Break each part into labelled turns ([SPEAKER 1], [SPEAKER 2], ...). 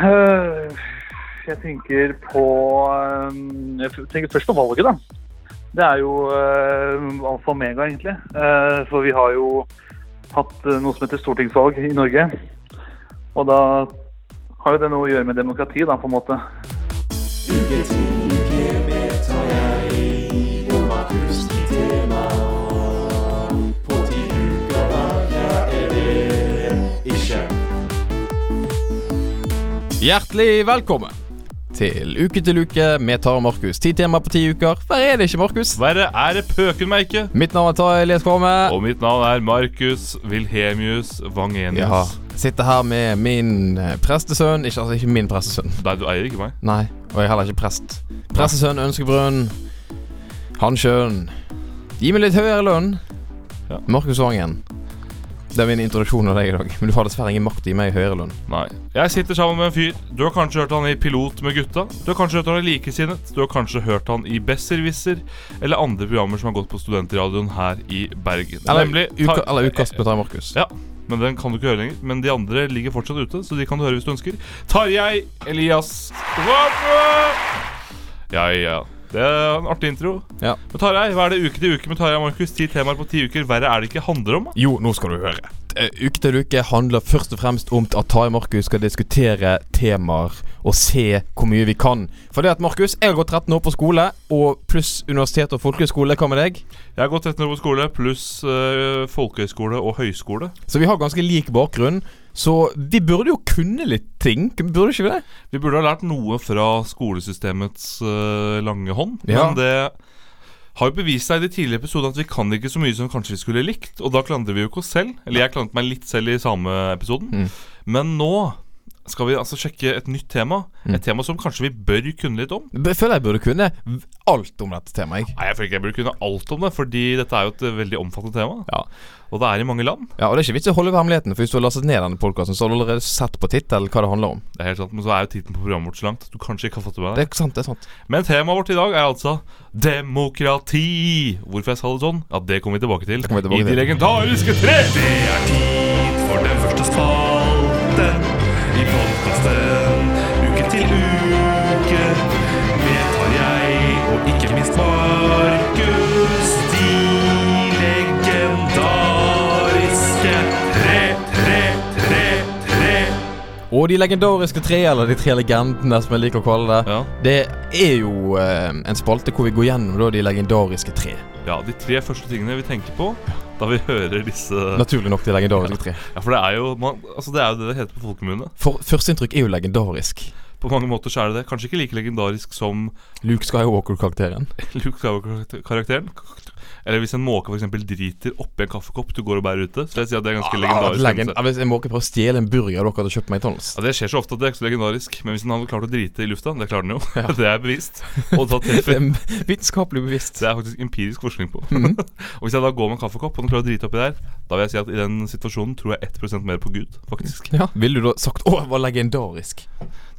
[SPEAKER 1] Eh, Jeg tenker på eh, Jeg tenker først på valget, da. Det er jo eh, alfa og omega, egentlig. Eh, For vi har jo hatt eh, noe som heter stortingsvalg i Norge. Og da har jo det noe å gjøre med demokrati, da, på en måte.
[SPEAKER 2] Hjertelig velkommen til Uke til uke med Tare og Markus. Ti tema på ti uker. Hva er det ikke, Markus?
[SPEAKER 3] Hva er det? Er det pøken meg ikke?
[SPEAKER 2] Mitt navn er Tare Elias Kvamme.
[SPEAKER 3] Og mitt navn er Markus Wilhelmius Wangenius.
[SPEAKER 2] Ja, sitter her med min eh, prestesønn. Ikke, altså, ikke min prestesønn.
[SPEAKER 3] Nei, du eier ikke meg.
[SPEAKER 2] Nei, og jeg er heller ikke prest. Prestesønn Ønskebrunn. Hanskjønn. Gi meg litt høyere lønn.
[SPEAKER 3] Ja.
[SPEAKER 2] Markus Vangen. Det er min introduksjon av deg i dag. Men du har dessverre ingen makt til å gi meg høyere lønn.
[SPEAKER 3] Nei. Jeg sitter sammen med en fyr. Du har kanskje hørt han i Pilot med gutta. Du har kanskje hørt han i Likesinnet. Du har kanskje hørt han i Besserwisser. Eller andre programmer som har gått på studentradioen her i Bergen.
[SPEAKER 2] Eller,
[SPEAKER 3] Nemlig
[SPEAKER 2] uka,
[SPEAKER 3] Ta-
[SPEAKER 2] eller utkast med Tare Markus.
[SPEAKER 3] Ja, men den kan du ikke høre lenger. Men de andre ligger fortsatt ute, så de kan du høre hvis du ønsker. Tarjei Elias Vamme! Ja, ja. Det er en artig intro.
[SPEAKER 2] Ja.
[SPEAKER 3] Men Tarjei, hva er det uke til uke med Tarjei og Markus? Ti temaer på ti uker. Verre er det ikke handler om. da?
[SPEAKER 2] Jo, nå skal du høre. Eh, Uke til uke handler først og fremst om at Tarjei og Markus skal diskutere temaer og se hvor mye vi kan. For det at Markus, jeg har gått 13 år på skole, og pluss universitet og folkehøyskole. Hva med deg?
[SPEAKER 3] Jeg har gått 13 år på skole, pluss øh, folkehøyskole og høyskole.
[SPEAKER 2] Så vi har ganske lik bakgrunn. Så vi burde jo kunne litt ting, burde ikke vi det?
[SPEAKER 3] Vi burde ha lært noe fra skolesystemets øh, lange hånd,
[SPEAKER 2] Ja.
[SPEAKER 3] men det har jo bevist seg i de tidligere episodene at vi kan ikke så mye som kanskje vi skulle likt, og da klandrer vi jo ikke oss selv. Eller jeg klandret meg litt selv i samme episoden.
[SPEAKER 2] Mm.
[SPEAKER 3] Men nå skal vi altså sjekke et nytt tema.
[SPEAKER 2] Mm.
[SPEAKER 3] Et tema som kanskje vi bør kunne litt om.
[SPEAKER 2] Jeg føler jeg burde kunne v- alt om dette temaet. jeg.
[SPEAKER 3] Nei, jeg føler ikke jeg burde kunne alt om det, fordi dette er jo et øh, veldig omfattende tema.
[SPEAKER 2] Ja.
[SPEAKER 3] Og det er i mange land.
[SPEAKER 2] ja, Og det er ikke vits i å holde på hemmeligheten, for hvis du har lastet ned denne podkasten, så har du allerede sett på tittelen hva det handler om.
[SPEAKER 3] Det er helt sant, Men så er jo tiden på programmet vårt så langt at du kanskje ikke har fått det med deg.
[SPEAKER 2] Det er sant, det er sant.
[SPEAKER 3] Men temaet vårt i dag er altså demokrati. Hvorfor jeg sa det sånn, ja, det kommer vi tilbake til
[SPEAKER 2] kommer vi tilbake
[SPEAKER 3] i de
[SPEAKER 2] til.
[SPEAKER 3] legendariske tre.
[SPEAKER 4] for den første spalten i podkasten Uke til uke med Tarjei og ikke minst Markus. De legendariske tre, tre, tre, tre.
[SPEAKER 2] Og de legendariske tre, eller de tre legendene som jeg liker å kalle det,
[SPEAKER 3] Ja.
[SPEAKER 2] det er jo eh, en spalte hvor vi går gjennom da, de legendariske tre.
[SPEAKER 3] ja, de tre første tingene vi tenker på da vi hører disse Ja,
[SPEAKER 2] Naturlig nok de legendariske tre.
[SPEAKER 3] for det er jo man, altså det er jo det det heter på folkemunne.
[SPEAKER 2] For Førsteinntrykk er jo legendarisk.
[SPEAKER 3] På mange måter så er det det. Kanskje ikke like legendarisk som
[SPEAKER 2] Luke Skywalker-karakteren.
[SPEAKER 3] Luke Skywalker-karakteren. Eller hvis en måke for eksempel driter oppi en kaffekopp du går og bærer ute. Så vil jeg si at det er ganske legendarisk. hendelse.
[SPEAKER 2] Legend hvis jeg må ikke prøve å stjele en burger dere hadde kjøpt på McDonald's.
[SPEAKER 3] Ja, Det skjer så ofte at det er ikke så legendarisk, men hvis den hadde klart å drite i lufta, det klarer den jo. det er bevist. Og da
[SPEAKER 2] Det
[SPEAKER 3] treffer
[SPEAKER 2] er Mhm. Vitenskapelig bevisst.
[SPEAKER 3] Det er faktisk empirisk forskning på. og hvis jeg da går med en kaffekopp og den klarer å drite oppi der, da vil jeg si at i den situasjonen tror jeg 1 mer på Gud, faktisk.
[SPEAKER 2] Ja. Ville du da sagt 'Å, jeg var legendarisk'?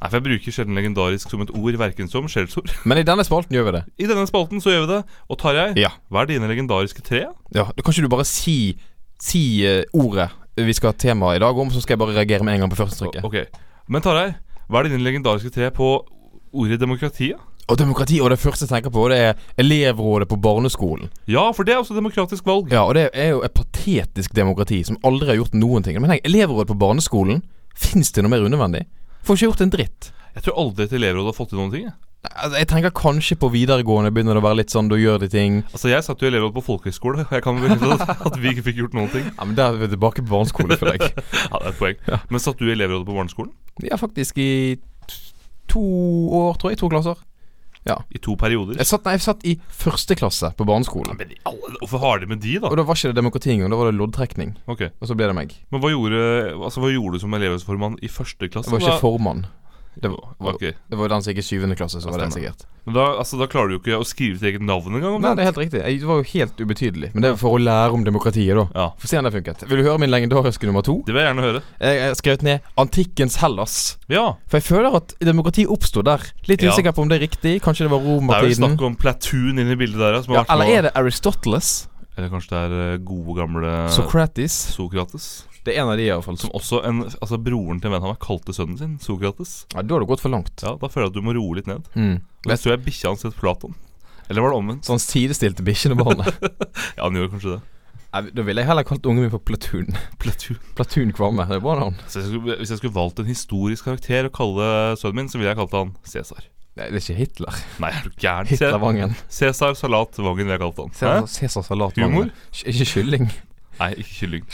[SPEAKER 3] Nei, for jeg bruker sjelden legendarisk som et ord, verken som skjellsord.
[SPEAKER 2] Men i denne spalten gjør vi det.
[SPEAKER 3] I denne spalten så gjør vi det. Og Tarjei,
[SPEAKER 2] Ja.
[SPEAKER 3] hva er dine legendariske tre?
[SPEAKER 2] ja. Da kan ikke du bare si, si eh, ordet vi skal ha tema i dag om, så skal jeg bare reagere med en gang på førsteinntrykket.
[SPEAKER 3] Ok. Men Tarjei, hva er dine legendariske tre på ordet demokrati?
[SPEAKER 2] Og demokrati, og det første jeg tenker på, det er elevrådet på barneskolen.
[SPEAKER 3] Ja, for det er også demokratisk valg.
[SPEAKER 2] Ja, og det er jo et patetisk demokrati som aldri har gjort noen ting. Men hei, elevråd på barneskolen, fins det noe mer unødvendig? Får ikke gjort en dritt.
[SPEAKER 3] Jeg tror aldri et elevråd har fått til noen ting. jeg.
[SPEAKER 2] Nei, Altså, jeg tenker kanskje på videregående begynner det å være litt sånn, da gjør de ting.
[SPEAKER 3] Altså, Jeg satt jo i elevråd på folkehøyskole, og jeg kan bekrefte at- at vi ikke fikk gjort noen ting.
[SPEAKER 2] Ja, men der er vi tilbake på barneskolen, føler jeg.
[SPEAKER 3] Ja, det er et poeng. Men satt du i elevrådet på barneskolen?
[SPEAKER 2] Ja, faktisk i to år, tror jeg. To klasser.
[SPEAKER 3] I to perioder?
[SPEAKER 2] Jeg satt, nei, jeg satt i første klasse på barneskolen.
[SPEAKER 3] Men i alle, hvorfor har de med de, da?
[SPEAKER 2] Og da var ikke det demokrati engang, da var det loddtrekning.
[SPEAKER 3] Ok,
[SPEAKER 2] Og så ble det meg.
[SPEAKER 3] Men hva gjorde, altså, hva gjorde du som elevrådsformann i første klasse?
[SPEAKER 2] Jeg var ikke
[SPEAKER 3] da?
[SPEAKER 2] formann. Det var,
[SPEAKER 3] Ok.
[SPEAKER 2] det var den som gikk i syvende klasse, så var den
[SPEAKER 3] stemmer.
[SPEAKER 2] sikkert.
[SPEAKER 3] Men da, altså, da klarer du jo ikke å skrive ditt eget navn engang.
[SPEAKER 2] Nei,
[SPEAKER 3] omtrent.
[SPEAKER 2] det er helt riktig. Jeg var jo helt ubetydelig. Men det er for å lære om demokratiet, da.
[SPEAKER 3] Ja.
[SPEAKER 2] Få se om det funket. Vil du høre min legendariske nummer to?
[SPEAKER 3] Det vil jeg gjerne høre.
[SPEAKER 2] Jeg har skrevet ned 'Antikkens Hellas'.
[SPEAKER 3] Ja.
[SPEAKER 2] For jeg føler at demokrati oppsto der. Litt
[SPEAKER 3] Ja.
[SPEAKER 2] usikker på om det er riktig. Kanskje det var
[SPEAKER 3] Det er jo
[SPEAKER 2] romertiden.
[SPEAKER 3] snakk om platoon inni bildet der. ja, Som har
[SPEAKER 2] Ja,
[SPEAKER 3] vært
[SPEAKER 2] eller
[SPEAKER 3] med-
[SPEAKER 2] er det Aristoteles?
[SPEAKER 3] Eller kanskje det er eh, gode, gamle
[SPEAKER 2] Sokrates?
[SPEAKER 3] Sokrates.
[SPEAKER 2] Det er en av de, iallfall.
[SPEAKER 3] Som også en, altså Broren til en venn av meg kalte sønnen sin Sokrates.
[SPEAKER 2] Ja, da har det gått for langt.
[SPEAKER 3] Ja, Da føler jeg at du må roe litt ned.
[SPEAKER 2] Mm.
[SPEAKER 3] Men jeg tror jeg bikkja hans het Platon. Eller var det omvendt?
[SPEAKER 2] Sånn sidestilte bikkjene barna.
[SPEAKER 3] Ja, han gjorde kanskje det.
[SPEAKER 2] Nei, Da ville jeg heller kalt ungen min for Platoon.
[SPEAKER 3] Platoon.
[SPEAKER 2] Platoon Kvamme. Det er bra navn.
[SPEAKER 3] Så jeg skulle, hvis jeg skulle valgt en historisk karakter å kalle sønnen min, så ville jeg kalt han Cæsar.
[SPEAKER 2] Nei, det er ikke Hitler.
[SPEAKER 3] Nei, er du gæren? Cæ-
[SPEAKER 2] Hitlervangen.
[SPEAKER 3] Cæsar Salat Vangen ville jeg kalt han.
[SPEAKER 2] Cæsar
[SPEAKER 3] Hæ?
[SPEAKER 2] Cæsar salat.
[SPEAKER 3] Humor?
[SPEAKER 2] Ikke ikke kylling.
[SPEAKER 3] Nei, ikke kylling.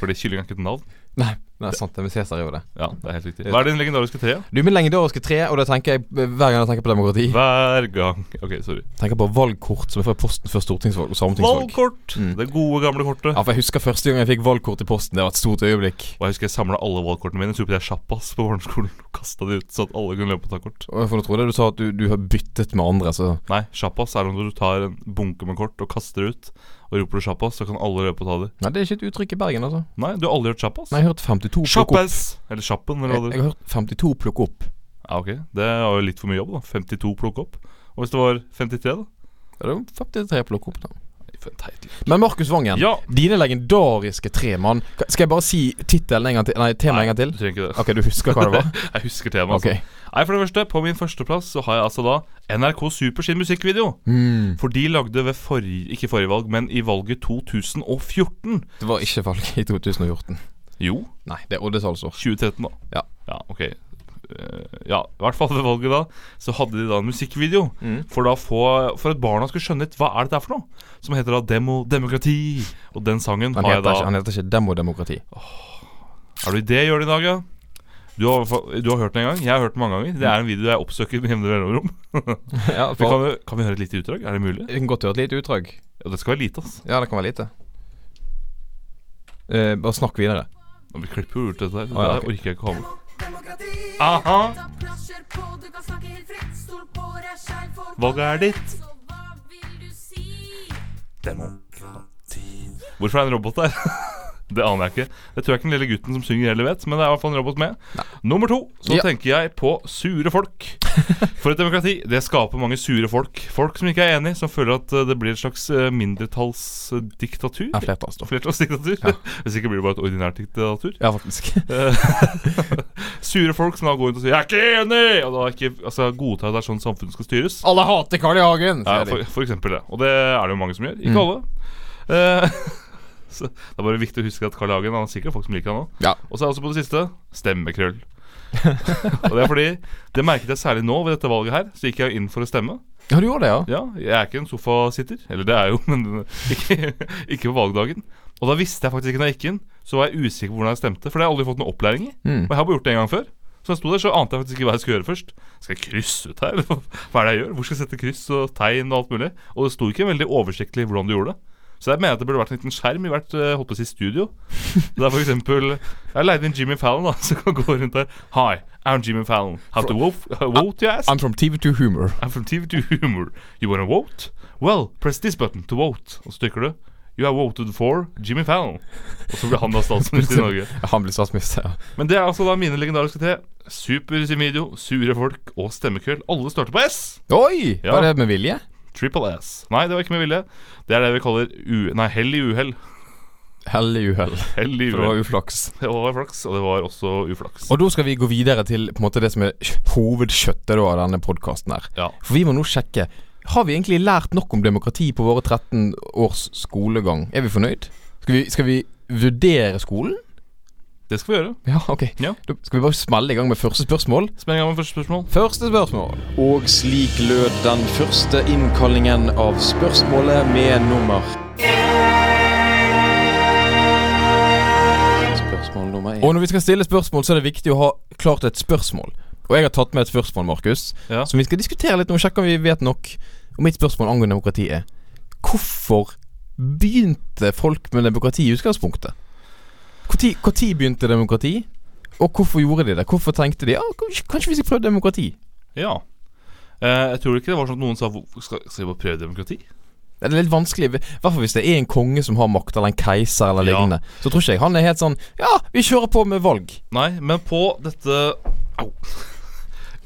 [SPEAKER 3] Fordi kylling er ikke et navn.
[SPEAKER 2] Nei, nei sant, det er med Cæsar gjør det.
[SPEAKER 3] Ja, det er helt riktig. Hva er din legendariske tre?
[SPEAKER 2] Du, min legendariske tre, og det tenker jeg hver gang jeg tenker på demokrati.
[SPEAKER 3] Hver gang. Ok, sorry.
[SPEAKER 2] Tenker på valgkort som er fra posten før stortingsvalg og sametingsvalg.
[SPEAKER 3] Valgkort!
[SPEAKER 2] Mm.
[SPEAKER 3] Det gode, gamle kortet.
[SPEAKER 2] Ja, for jeg husker første gang jeg fikk valgkort i posten. Det var et stort øyeblikk.
[SPEAKER 3] Og jeg husker jeg samla alle valgkortene mine. Supte jeg sjappas på barneskolen og kasta de ut, så at alle kunne løpe og ta kort.
[SPEAKER 2] Og for nå trodde jeg du sa at du, du har byttet med andre, så
[SPEAKER 3] Nei, sjappas er når du tar en bunke med kort og kaster ut. Og roper du sjappas, så kan alle løpe og ta de.
[SPEAKER 2] Nei, det er ikke et uttrykk i Bergen, altså.
[SPEAKER 3] Nei, du har aldri hørt sjappas?
[SPEAKER 2] Nei, jeg har hørt 52 plukke opp.
[SPEAKER 3] Sjappas! Eller sjappen, eller
[SPEAKER 2] Jeg,
[SPEAKER 3] hva det
[SPEAKER 2] jeg har hørt 52 plukke opp.
[SPEAKER 3] Ja, ok. Det var jo litt for mye jobb, da. 52 plukke opp. Og hvis det var 53, da?
[SPEAKER 2] Ja, det var 53 plukke opp, da.
[SPEAKER 3] Nei, for en teit liten
[SPEAKER 2] Men Markus Vangen,
[SPEAKER 3] Ja.
[SPEAKER 2] dine legendariske tre, mann. Ka- Skal jeg bare si tittelen en gang til? Nei, temaet en gang til?
[SPEAKER 3] Du trenger ikke det.
[SPEAKER 2] Ok, du husker hva det var?
[SPEAKER 3] Jeg husker temaet.
[SPEAKER 2] Ok.
[SPEAKER 3] Altså. Nei, for det første, på min førsteplass så har jeg altså da NRK Super sin musikkvideo.
[SPEAKER 2] Mm.
[SPEAKER 3] For de lagde ved forrige Ikke forrige valg, men i valget 2014.
[SPEAKER 2] Det var ikke valget i 2014.
[SPEAKER 3] Jo,
[SPEAKER 2] Nei, det er Oddes altså.
[SPEAKER 3] 2013, da.
[SPEAKER 2] Ja.
[SPEAKER 3] ja ok. Eh, ja, i hvert fall ved valget da, så hadde de da en musikkvideo.
[SPEAKER 2] Mm.
[SPEAKER 3] For da få, for at barna skulle skjønne litt hva er dette er for noe. Som heter da Demo Demokrati. Og den sangen
[SPEAKER 2] Han
[SPEAKER 3] har jeg
[SPEAKER 2] heter,
[SPEAKER 3] da
[SPEAKER 2] ikke, han heter ikke Demodemokrati.
[SPEAKER 3] Er du i det gjør det i dag, ja? Du har, du har hørt den en gang. Jeg har hørt den mange ganger. Det er en video jeg oppsøker med jevne mellomrom.
[SPEAKER 2] Ja,
[SPEAKER 3] Vi
[SPEAKER 2] for,
[SPEAKER 3] Kan, jo- kan vi høre et lite utdrag? Er det mulig?
[SPEAKER 2] vi kan godt høre et lite utdrag.
[SPEAKER 3] Ja, det skal være lite, altså. ass.
[SPEAKER 2] Ja, det kan være lite. Eh, bare snakk videre.
[SPEAKER 3] Men vi klipper jo ut dette her.
[SPEAKER 2] Å,
[SPEAKER 3] Det
[SPEAKER 2] ja,
[SPEAKER 3] der
[SPEAKER 2] ok.
[SPEAKER 3] orker jeg ikke å ha med.
[SPEAKER 5] Aha!
[SPEAKER 3] Valget er ditt. Hvorfor er det en robot der? Det aner jeg ikke. Det tror jeg ikke den lille gutten som synger heller vet, men det er i hvert fall en robot med. Nummer to, så
[SPEAKER 2] Ja.
[SPEAKER 3] tenker jeg på sure folk. For et demokrati, det skaper mange sure folk. Folk som ikke er enige, som føler at eh, det blir et slags eh, mindretallsdiktatur.
[SPEAKER 2] Ja, flertallsstoff.
[SPEAKER 3] Flertallsdiktatur. Hvis ikke blir det bare et ordinært diktatur.
[SPEAKER 2] Ja, faktisk.
[SPEAKER 3] Sure folk som da går rundt og sier 'jeg er ikke enig', og da ikke altså, godtar at det er sånn samfunnet skal styres.
[SPEAKER 2] Alle hater Carl I. Hagen!
[SPEAKER 3] Ja,
[SPEAKER 2] sier
[SPEAKER 3] for,
[SPEAKER 2] de.
[SPEAKER 3] for eksempel det. Og det er det jo mange som gjør.
[SPEAKER 2] Mm.
[SPEAKER 3] Ikke alle. Eh, så det er bare viktig å huske at Carl I. Hagen han er sikkert folk som liker han òg.
[SPEAKER 2] Ja.
[SPEAKER 3] Og så er det også på det siste stemmekrøll. og det er fordi Det merket jeg særlig nå ved dette valget her. Så gikk jeg inn for å stemme.
[SPEAKER 2] ja, du gjorde det, ja?
[SPEAKER 3] Ja, jeg er ikke en sofasitter. Eller det er jeg jo, men ikke, ikke på valgdagen. Og da visste jeg faktisk ikke når jeg gikk inn, så var jeg usikker på hvordan jeg stemte. For det har jeg aldri fått noe opplæring i. Og jeg har bare gjort det en gang før. Så jeg sto der, så ante jeg faktisk ikke hva jeg skulle gjøre først. Skal jeg krysse ut her? Hva er det jeg gjør? Hvor skal jeg sette kryss og tegn og alt mulig? Og det sto ikke veldig oversiktlig hvordan du gjorde det. Så jeg mener at det burde vært en liten skjerm i hvert eh, holdt på å si studio. Det er for eksempel Jeg leide inn Jimmy Fallon, da, som kan gå rundt der. Hi, I'm Jimmy Fallon. How to vote, vote you ask?
[SPEAKER 2] I'm from TV2 Humor.
[SPEAKER 3] I'm from TV to humor. You wanna vote? Well, press this button to vote. Og så trykker du. You are voted for Jimmy Fallon. Og så blir han da statsminister i Norge.
[SPEAKER 2] Han blir statsminister. ja.
[SPEAKER 3] Men det er altså da mine legendariske tre. Super sin video, sure folk og stemmekveld. Alle starter på S.
[SPEAKER 2] Oi!
[SPEAKER 3] Ja.
[SPEAKER 2] Var det med vilje?
[SPEAKER 3] Triple S. Nei, det var ikke med vilje. Det er det vi kaller u... Nei, hell i uhell.
[SPEAKER 2] Hell i uhell.
[SPEAKER 3] Hell i
[SPEAKER 2] For det var
[SPEAKER 3] uhell.
[SPEAKER 2] uflaks.
[SPEAKER 3] Det var flaks, og det var også uflaks.
[SPEAKER 2] Og da skal vi gå videre til på en måte det som er hovedkjøttet da, av denne podkasten her.
[SPEAKER 3] Ja.
[SPEAKER 2] For vi må nå sjekke Har vi egentlig lært nok om demokrati på våre 13 års skolegang? Er vi fornøyd? Skal vi, skal vi vurdere skolen?
[SPEAKER 3] Det skal vi gjøre.
[SPEAKER 2] Ja, ok.
[SPEAKER 3] Ja.
[SPEAKER 2] Da skal vi bare smelle i gang med første spørsmål.
[SPEAKER 3] Spenn i gang med første spørsmål.
[SPEAKER 2] Første spørsmål.
[SPEAKER 6] Og slik lød den første innkallingen av spørsmålet med nummer. Spørsmål nummer én.
[SPEAKER 2] Og når vi skal stille spørsmål, så er det viktig å ha klart et spørsmål. Og jeg har tatt med et spørsmål, Markus,
[SPEAKER 3] Ja.
[SPEAKER 2] som vi skal diskutere litt nå. Sjekke om vi vet nok. Og mitt spørsmål angående demokrati er Hvorfor begynte folk med demokrati i utgangspunktet? Når begynte demokrati? Og hvorfor gjorde de det? Hvorfor tenkte de ja, kanskje, kanskje vi skal prøve demokrati?
[SPEAKER 3] Ja. Eh, jeg tror ikke det var sånn at noen sa "Hvor- Skal, skal vi bare prøve demokrati?
[SPEAKER 2] Det er litt vanskelig, i hvert fall hvis det er en konge som har makt, eller en keiser eller
[SPEAKER 3] Ja.
[SPEAKER 2] lignende. Så tror ikke jeg han er helt sånn Ja, vi kjører på med valg.
[SPEAKER 3] Nei, men på dette Au.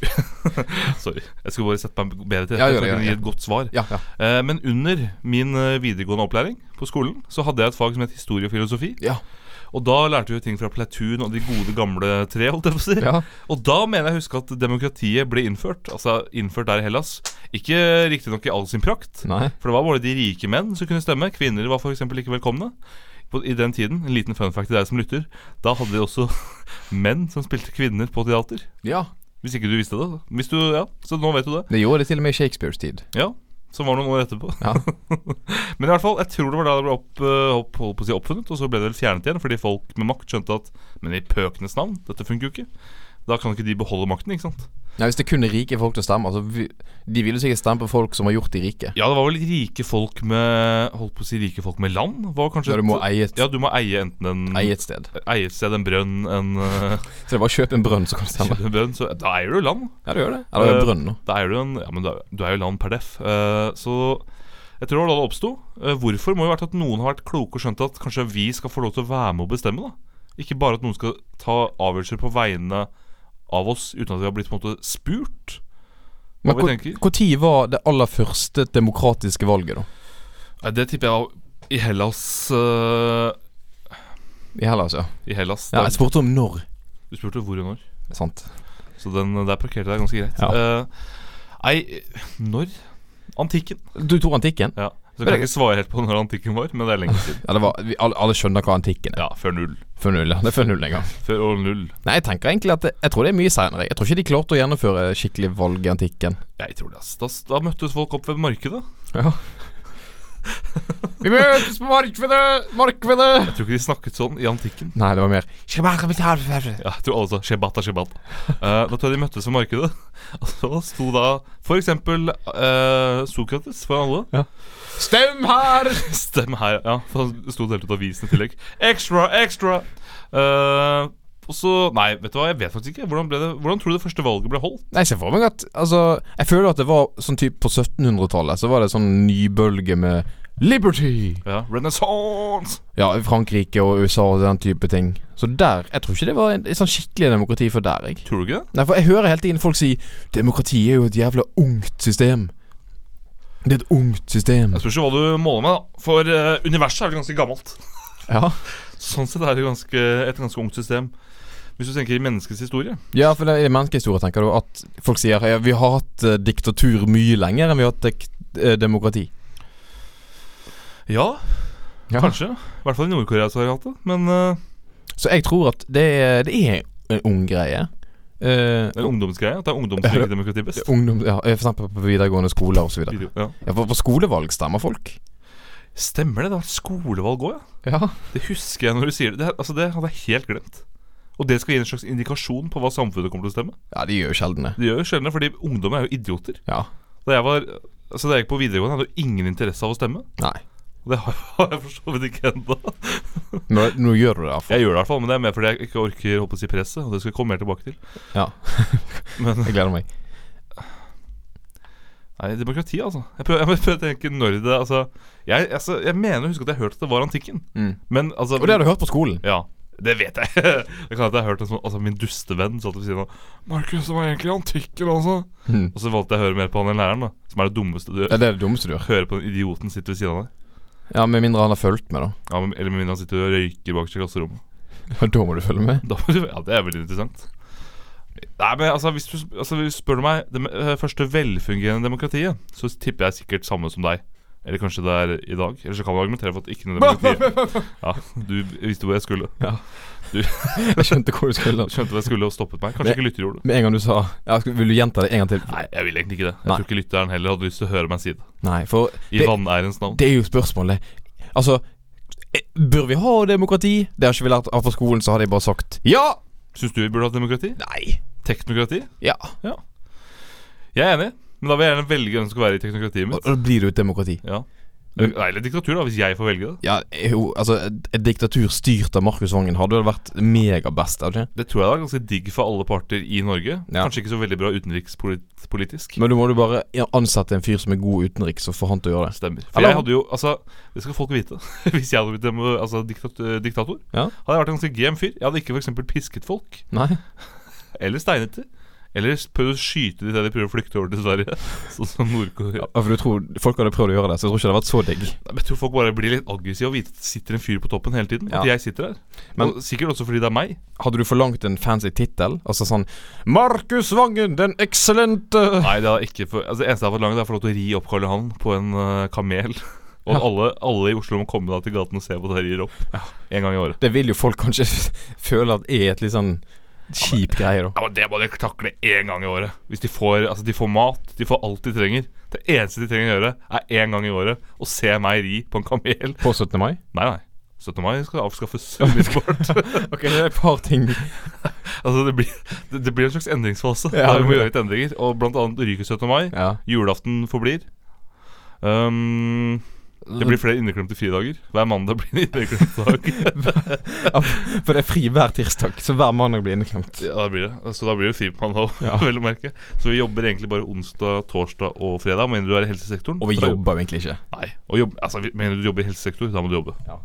[SPEAKER 3] Sorry. Jeg skulle bare sette meg bedre til
[SPEAKER 2] Ja, gjør det,
[SPEAKER 3] rette. for å kunne
[SPEAKER 2] ja,
[SPEAKER 3] gi et godt svar.
[SPEAKER 2] Ja, ja.
[SPEAKER 3] Eh, men under min eh, videregående opplæring på skolen så hadde jeg et fag som het historie og filosofi.
[SPEAKER 2] Ja.
[SPEAKER 3] Og da lærte vi jo ting fra Platoon og de gode gamle tre, holdt jeg på å si.
[SPEAKER 2] Ja.
[SPEAKER 3] Og da mener jeg å huske at demokratiet ble innført. Altså innført der i Hellas. Ikke riktignok i all sin prakt,
[SPEAKER 2] Nei.
[SPEAKER 3] for det var bare de rike menn som kunne stemme. Kvinner var f.eks. ikke velkomne. På, I den tiden, en liten fun fact til deg som lytter, da hadde de også menn som spilte kvinner på teater.
[SPEAKER 2] Ja.
[SPEAKER 3] Hvis ikke du visste det. da. Hvis du, ja, Så nå vet du det.
[SPEAKER 2] Det gjorde det til og med i Shakespeares tid.
[SPEAKER 3] Ja, Som var noen år etterpå.
[SPEAKER 2] Ja.
[SPEAKER 3] Men i hvert fall, jeg tror det var da det ble opp, eh, opp, holdt på å si oppfunnet, og så ble det vel fjernet igjen fordi folk med makt skjønte at Men i pøkenes navn, dette funker jo ikke. Da kan ikke de beholde makten, ikke sant.
[SPEAKER 2] Nei, Hvis det kun er rike folk til å stemme altså, vi, De ville sikkert stemme på folk som har gjort de rike.
[SPEAKER 3] Ja, det var vel rike folk med Holdt på å si rike folk med land? Var kanskje
[SPEAKER 2] Ja, du må
[SPEAKER 3] et-
[SPEAKER 2] eie et,
[SPEAKER 3] Ja, du må eie enten en
[SPEAKER 2] eie et sted.
[SPEAKER 3] eie et sted, en brønn, en eh,
[SPEAKER 2] Så det er bare å kjøpe en brønn, så kan du stemme.
[SPEAKER 3] en brønn, så Da eier du land.
[SPEAKER 2] Ja, du gjør det. Eller
[SPEAKER 3] Eh,
[SPEAKER 2] en brønn nå.
[SPEAKER 3] Da eier du en Ja, men da- du eier jo land per def. Eh, så jeg tror det var da det oppsto. Eh, hvorfor må jo ha vært at noen har vært kloke og skjønt at kanskje vi skal få lov til å være med og bestemme, da. Ikke bare at noen skal ta avgjørelser på vegne av oss uten at vi har blitt på en måte spurt.
[SPEAKER 2] Men
[SPEAKER 3] vi tenker?
[SPEAKER 2] når var det aller første demokratiske valget, da?
[SPEAKER 3] Eh, det tipper jeg var i Hellas eh,
[SPEAKER 2] I Hellas, ja.
[SPEAKER 3] I Hellas.
[SPEAKER 2] ja
[SPEAKER 3] Der-
[SPEAKER 2] jeg spurte om når.
[SPEAKER 3] Du spurte hvor og når.
[SPEAKER 2] Sant.
[SPEAKER 3] Så den eh, der parkerte deg ganske greit. Eh, nei, når? Antikken.
[SPEAKER 2] Du tok antikken?
[SPEAKER 3] Ja. Så kan jeg ikke svare helt på når antikken var, men det er lenge siden.
[SPEAKER 2] Ja, det var, vi, alle, alle skjønner hva antikken er.
[SPEAKER 3] Ja, før null.
[SPEAKER 2] Før null, ja. Det er før null en gang.
[SPEAKER 3] Før år null.
[SPEAKER 2] Nei, jeg tenker egentlig at det, Jeg tror det er mye seinere. Jeg tror ikke de klarte å gjennomføre skikkelig valg i antikken.
[SPEAKER 3] Jeg tror det, ass. Da, da møttes folk opp ved markedet.
[SPEAKER 2] Ja Vi møtes på markedet! Markedet!
[SPEAKER 3] Jeg tror ikke de snakket sånn i antikken.
[SPEAKER 2] Nei, det var mer Ja,
[SPEAKER 3] Ja, jeg tror alle sa 'shebata, shebata'. Eh, da tror jeg de møttes ved markedet. Og så sto da for eksempel eh, Sokrates for alle.
[SPEAKER 2] Stem her!
[SPEAKER 3] Stem her, ja. For han sto delt ut avisen i tillegg. Extra, extra! Eh, og så Nei, vet du hva, jeg vet faktisk ikke. Hvordan, ble det, hvordan tror du det første valget ble holdt?
[SPEAKER 2] Nei, se for meg at Altså, jeg føler at det var sånn type på 1700-tallet. Så var det sånn nybølge med Liberty!
[SPEAKER 3] Ja, Renaissance!
[SPEAKER 2] Ja, i Frankrike og USA og den type ting. Så der Jeg tror ikke det var en, et sånn skikkelig demokrati for der, jeg.
[SPEAKER 3] Tror du ikke det?
[SPEAKER 2] Nei, for jeg hører hele tiden folk si Demokrati er jo et jævla ungt system. Det er et ungt system.
[SPEAKER 3] Jeg spørs jo hva du måler med, da. For eh, universet er vel ganske gammelt.
[SPEAKER 2] Ja,
[SPEAKER 3] Sånn sett er det ganske, et ganske ungt system. Hvis du tenker i menneskets historie.
[SPEAKER 2] ja for det er menneskehistorie, tenker du, at folk sier ja, vi har hatt eh, diktatur mye lenger enn vi har hatt dek eh, demokrati.
[SPEAKER 3] Ja,
[SPEAKER 2] Ja.
[SPEAKER 3] kanskje. I hvert fall i Nord-Korea så har de hatt det. Men eh,
[SPEAKER 2] Så jeg tror at det er, det er en ung greie. Eh,
[SPEAKER 3] det er en ungdomsgreie. At det er ungdom som liker demokrati best.
[SPEAKER 2] ungdom, ja, eh, for eksempel på videregående skoler osv.
[SPEAKER 3] Ja.
[SPEAKER 2] Ja, på, på skolevalg stemmer folk.
[SPEAKER 3] Stemmer det? Det har vært skolevalg òg, ja.
[SPEAKER 2] Ja.
[SPEAKER 3] Det husker jeg når du sier det. Det, altså, det hadde jeg helt glemt. Og det skal gi en slags indikasjon på hva samfunnet kommer til å stemme.
[SPEAKER 2] ja, de gjør jo sjelden det.
[SPEAKER 3] Det gjør jo sjelden det, fordi ungdom er jo idioter.
[SPEAKER 2] Ja.
[SPEAKER 3] Da jeg, var, altså, da jeg gikk på videregående, hadde jeg jo ingen interesse av å stemme.
[SPEAKER 2] Nei.
[SPEAKER 3] Og det har jeg for så vidt ikke ennå.
[SPEAKER 2] Nå, nå gjør du det, iallfall.
[SPEAKER 3] Jeg gjør det i hvert fall, men det er mer fordi jeg ikke orker holdt på å si presset. Og det skal jeg komme mer tilbake til.
[SPEAKER 2] Ja.
[SPEAKER 3] Men
[SPEAKER 2] Jeg gleder meg.
[SPEAKER 3] Nei, demokrati, altså. Jeg prøver, jeg må prøve å tenke når det Altså, jeg, altså, jeg mener å huske at jeg hørte at det var antikken.
[SPEAKER 2] Mm.
[SPEAKER 3] Men altså
[SPEAKER 2] Og det har du hørt på skolen.
[SPEAKER 3] Ja, det vet jeg. det kan hende jeg har hørt en sånn Altså, min dustevenn satt ved siden av 'Markus, det var egentlig antikken, altså'.
[SPEAKER 2] Mm.
[SPEAKER 3] Og så valgte jeg å høre mer på han enn læreren, da. Som er det dummeste du
[SPEAKER 2] Ja, det er det dummeste du gjør.
[SPEAKER 3] hører på den idioten sitter ved siden av deg.
[SPEAKER 2] Ja, Med mindre han har fulgt med, da.
[SPEAKER 3] Ja, men, Eller med mindre han sitter og røyker bakerst i klasserommet.
[SPEAKER 2] Ja, Da må du følge med.
[SPEAKER 3] Da, må du- ja, det er veldig interessant. Nei, men altså, hvis du, altså, hvis du spør du meg det eh, første velfungerende demokratiet, så tipper jeg sikkert samme som deg. Eller kanskje det er i dag. Eller så kan man argumentere for at ikke noe demokrati Ja, Du visste hvor jeg skulle.
[SPEAKER 2] Jeg skjønte hvor du skulle.
[SPEAKER 3] Skjønte hvor jeg skulle og stoppet meg. Kanskje
[SPEAKER 2] Det-
[SPEAKER 3] ikke lytter gjorde det.
[SPEAKER 2] Med en gang du sa ja, skal- Vil du gjenta det en gang til?
[SPEAKER 3] Nei, jeg vil egentlig ikke det. Jeg
[SPEAKER 2] Nei.
[SPEAKER 3] tror ikke lytteren heller hadde lyst til å høre meg si det.
[SPEAKER 2] Nei, for
[SPEAKER 3] I
[SPEAKER 2] det,
[SPEAKER 3] vanærens navn.
[SPEAKER 2] det er jo spørsmålet. Altså eh, Bør vi ha demokrati? Det har ikke vi lært av på skolen, så har de bare sagt ja!
[SPEAKER 3] Syns du vi burde hatt demokrati?
[SPEAKER 2] Nei.
[SPEAKER 3] Teknokrati?
[SPEAKER 2] Ja.
[SPEAKER 3] Jeg er enig, men da vil jeg gjerne velge hvem som skal være i teknokratiet
[SPEAKER 2] Og
[SPEAKER 3] mitt.
[SPEAKER 2] da blir det jo et demokrati.
[SPEAKER 3] Ja. Nei, eller diktatur, da, hvis jeg får velge det.
[SPEAKER 2] Ja, jo, altså Et et diktatur styrt av Markus Vangen hadde jo vært megabest. hadde det ikke?
[SPEAKER 3] Det tror jeg da er ganske digg for alle parter i Norge.
[SPEAKER 2] Ja.
[SPEAKER 3] Kanskje ikke så veldig bra utenrikspolitisk.
[SPEAKER 2] Men du må du bare ansette en fyr som er god utenriks, og få han til å gjøre det.
[SPEAKER 3] Stemmer. For
[SPEAKER 2] Hallo.
[SPEAKER 3] jeg hadde jo, altså, Det skal folk vite. Hvis jeg hadde blitt demo- altså, diktat, eh, diktator,
[SPEAKER 2] Ja.
[SPEAKER 3] hadde jeg vært en ganske gem fyr. Jeg hadde ikke for eksempel pisket folk.
[SPEAKER 2] Nei?
[SPEAKER 3] Eller steinet dem. Eller prøv å skyte de der de prøver å flykte over til Sverige, sånn som Nord-Korea.
[SPEAKER 2] Ja, for du tror Folk hadde prøvd å gjøre det, så jeg tror ikke det hadde vært så digg.
[SPEAKER 3] Nei, men Jeg tror folk bare blir litt aggressive og vite at det sitter en fyr på toppen hele tiden. At
[SPEAKER 2] Ja.
[SPEAKER 3] jeg sitter her.
[SPEAKER 2] Men-
[SPEAKER 3] og sikkert også fordi det er meg.
[SPEAKER 2] Hadde du forlangt en fancy tittel? Altså sånn 'Markus Vangen, den eksellente'.
[SPEAKER 3] Nei, det er ikke for, altså, det eneste jeg har fått langt, er å få lov til å ri opp Karl Johan på en eh, kamel. Og at alle, alle i Oslo må komme da til gaten og se på det jeg rir opp. En gang i året.
[SPEAKER 2] Det vil jo folk kanskje føle at er et litt sånn kjip greie, da.
[SPEAKER 3] Ja, men Det må de takle én gang i året. Hvis De får altså de får mat, de får alt de trenger. Det eneste de trenger å gjøre, er én gang i året å se meg ri på en kamel.
[SPEAKER 2] På 17. mai?
[SPEAKER 3] Nei, nei. 17. mai skal avskaffes umiddelbart.
[SPEAKER 2] Ok, det er et par ting
[SPEAKER 3] altså, det, blir, det, det blir en slags endringsfase.
[SPEAKER 2] Ja,
[SPEAKER 3] der vi
[SPEAKER 2] det
[SPEAKER 3] må
[SPEAKER 2] blir
[SPEAKER 3] gjøre litt endringer. Og blant annet ryker 17. mai.
[SPEAKER 2] Ja.
[SPEAKER 3] Julaften forblir. Um, det blir flere inneklemte fridager. Hver mandag blir det inneklemt dag.
[SPEAKER 2] For det er fri hver tirsdag, så hver mandag blir inneklemt.
[SPEAKER 3] ja, det blir det. Så da blir det fri på mandag òg,
[SPEAKER 2] Ja.
[SPEAKER 3] vel å merke. Så vi jobber egentlig bare onsdag, torsdag og fredag, med mindre du er i helsesektoren.
[SPEAKER 2] Og vi
[SPEAKER 3] For da-
[SPEAKER 2] jobber jo egentlig ikke.
[SPEAKER 3] Nei. Og jobb, altså, vi- mener du jobber i helsesektor, da må du jobbe.
[SPEAKER 2] Ja.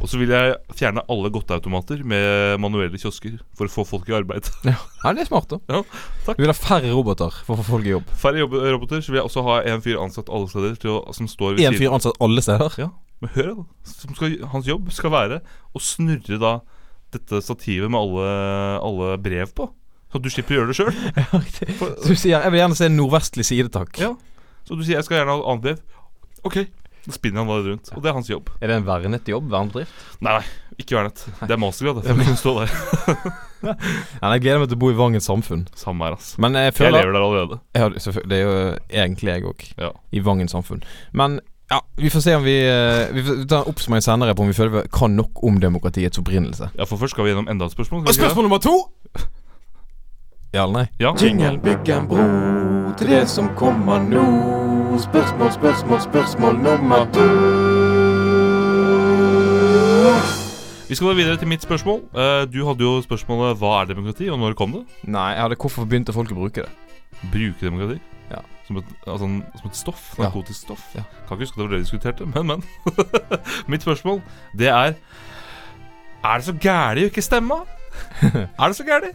[SPEAKER 3] Og så vil jeg fjerne alle godteautomater med manuelle kiosker for å få folk i arbeid.
[SPEAKER 2] Ja, ja det er smart, da.
[SPEAKER 3] Ja, takk.
[SPEAKER 2] Du vil ha færre roboter for å få folk i jobb.
[SPEAKER 3] Færre jobb roboter, så vil jeg også ha en fyr ansatt alle steder til å, som står ved
[SPEAKER 2] Én fyr ansatt alle steder.
[SPEAKER 3] Ja, men hør da som skal, Hans jobb skal være å snurre da dette stativet med alle, alle brev på. Så du slipper å gjøre det sjøl.
[SPEAKER 2] Så du sier 'jeg vil gjerne se en nordvestlig side, takk'.
[SPEAKER 3] Ja. Så du sier 'jeg skal gjerne ha et annet brev'. Ok, da spinner han bare rundt. Og det er hans jobb.
[SPEAKER 2] Er det en vernet jobb? Vernedrift?
[SPEAKER 3] Nei, nei, ikke vernet. Det er mastergrad. Det, for å kunne stå der.
[SPEAKER 2] Ja, jeg gleder meg til å bo i Vangen samfunn.
[SPEAKER 3] Samme her, altså.
[SPEAKER 2] Men jeg
[SPEAKER 3] Jeg
[SPEAKER 2] føler
[SPEAKER 3] lever der allerede.
[SPEAKER 2] Ja, det- selvfølgelig. det er jo egentlig jeg òg.
[SPEAKER 3] Ja.
[SPEAKER 2] I Vangen samfunn. Men ja, vi får se om vi eh, Vi får ta en oppsummering senere på om vi føler vi kan nok om demokratiets opprinnelse.
[SPEAKER 3] Ja, for først skal vi gjennom enda et spørsmål. skal vi ikke det?
[SPEAKER 2] Spørsmål nummer to! Ja eller nei?
[SPEAKER 3] Ja.
[SPEAKER 6] Jingle bygger en bro til det som kommer nå. Spørsmål, spørsmål, spørsmål nummer to.
[SPEAKER 3] Vi skal da videre til mitt spørsmål. Eh, Du hadde jo spørsmålet 'Hva er demokrati', og når kom det?
[SPEAKER 2] Nei, jeg hadde hvorfor begynte folk å bruke det?
[SPEAKER 3] Bruke demokrati.
[SPEAKER 2] Ja.
[SPEAKER 3] Som et, altså, en- som et stoff.
[SPEAKER 2] Ja.
[SPEAKER 3] Narkotisk stoff.
[SPEAKER 2] Ja.
[SPEAKER 3] Kan ikke huske at det var det vi diskuterte, men, men. Mitt spørsmål, det er Er det så gæli å ikke stemme? er det så gæli?